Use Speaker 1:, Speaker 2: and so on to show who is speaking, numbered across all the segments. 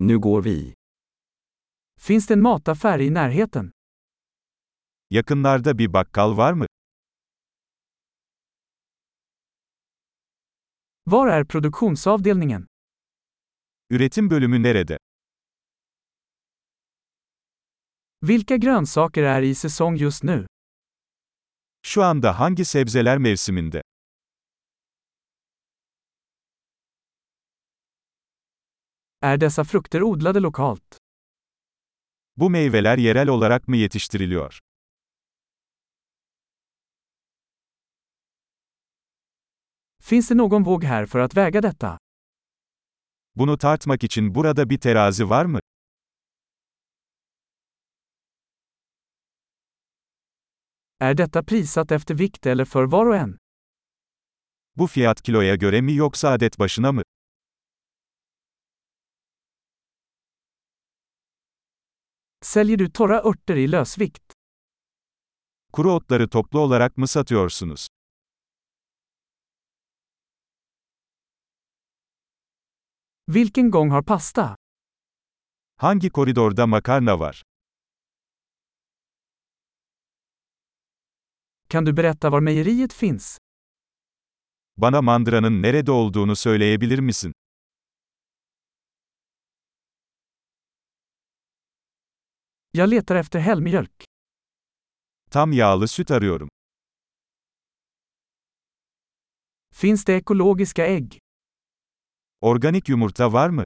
Speaker 1: Nu går vi.
Speaker 2: Finns det en mataffär i närheten?
Speaker 3: Yakınlarda bir bakkal var mı?
Speaker 2: Var är produktionsavdelningen?
Speaker 3: Üretim bölümü nerede?
Speaker 2: Vilka grönsaker är i säsong just nu?
Speaker 3: Şu anda hangi sebzeler mevsiminde?
Speaker 2: Är dessa frukter odlade lokalt?
Speaker 3: Bu meyveler yerel olarak mı yetiştiriliyor?
Speaker 2: Finns det någon våg här för att väga detta?
Speaker 3: Bunu tartmak için burada bir terazi var mı?
Speaker 2: Är detta prissatt efter vikt eller för var och en?
Speaker 3: Bu fiyat kiloya göre mi yoksa adet başına mı?
Speaker 2: Säljer du torra örter i lösvikt?
Speaker 3: Kuru otları toplu olarak mı satıyorsunuz?
Speaker 2: Vilken gång har pasta?
Speaker 3: Hangi koridorda makarna var?
Speaker 2: Kan du berätta var mejeriet finns?
Speaker 3: Bana mandıranın nerede olduğunu söyleyebilir misin?
Speaker 2: Jag letar efter helmjölk.
Speaker 3: Tam yağlı süt arıyorum.
Speaker 2: Finns det ekologiska ägg?
Speaker 3: Organik yumurta var mı?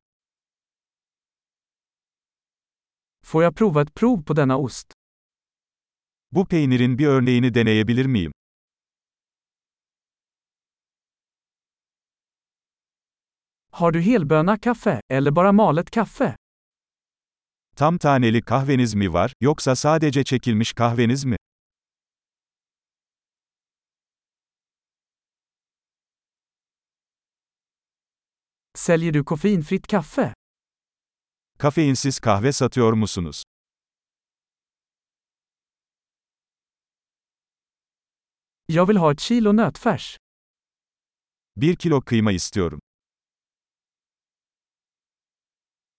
Speaker 2: Får jag prova ett prov på denna ost?
Speaker 3: Bu peynirin bir örneğini deneyebilir miyim?
Speaker 2: Har du helböna kaffe, eller bara malet kaffe?
Speaker 3: Tam taneli kahveniz mi var, yoksa sadece çekilmiş kahveniz mi?
Speaker 2: Säljer du koffeinfritt kaffe?
Speaker 3: Kafeinsiz kahve satıyor musunuz?
Speaker 2: Jag vill ha ett kilo nötfärs.
Speaker 3: 1 kilo kıyma istiyorum.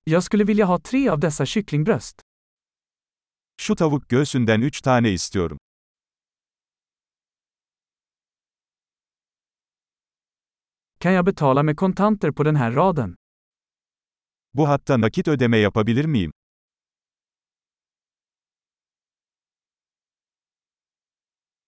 Speaker 2: Jag skulle vilja ha tre av dessa kycklingbröst.
Speaker 3: Şu tavuk göğsünden 3 tane istiyorum.
Speaker 2: Kan jag betala med kontanter på den här raden?
Speaker 3: Bu hatta nakit ödeme yapabilir miyim?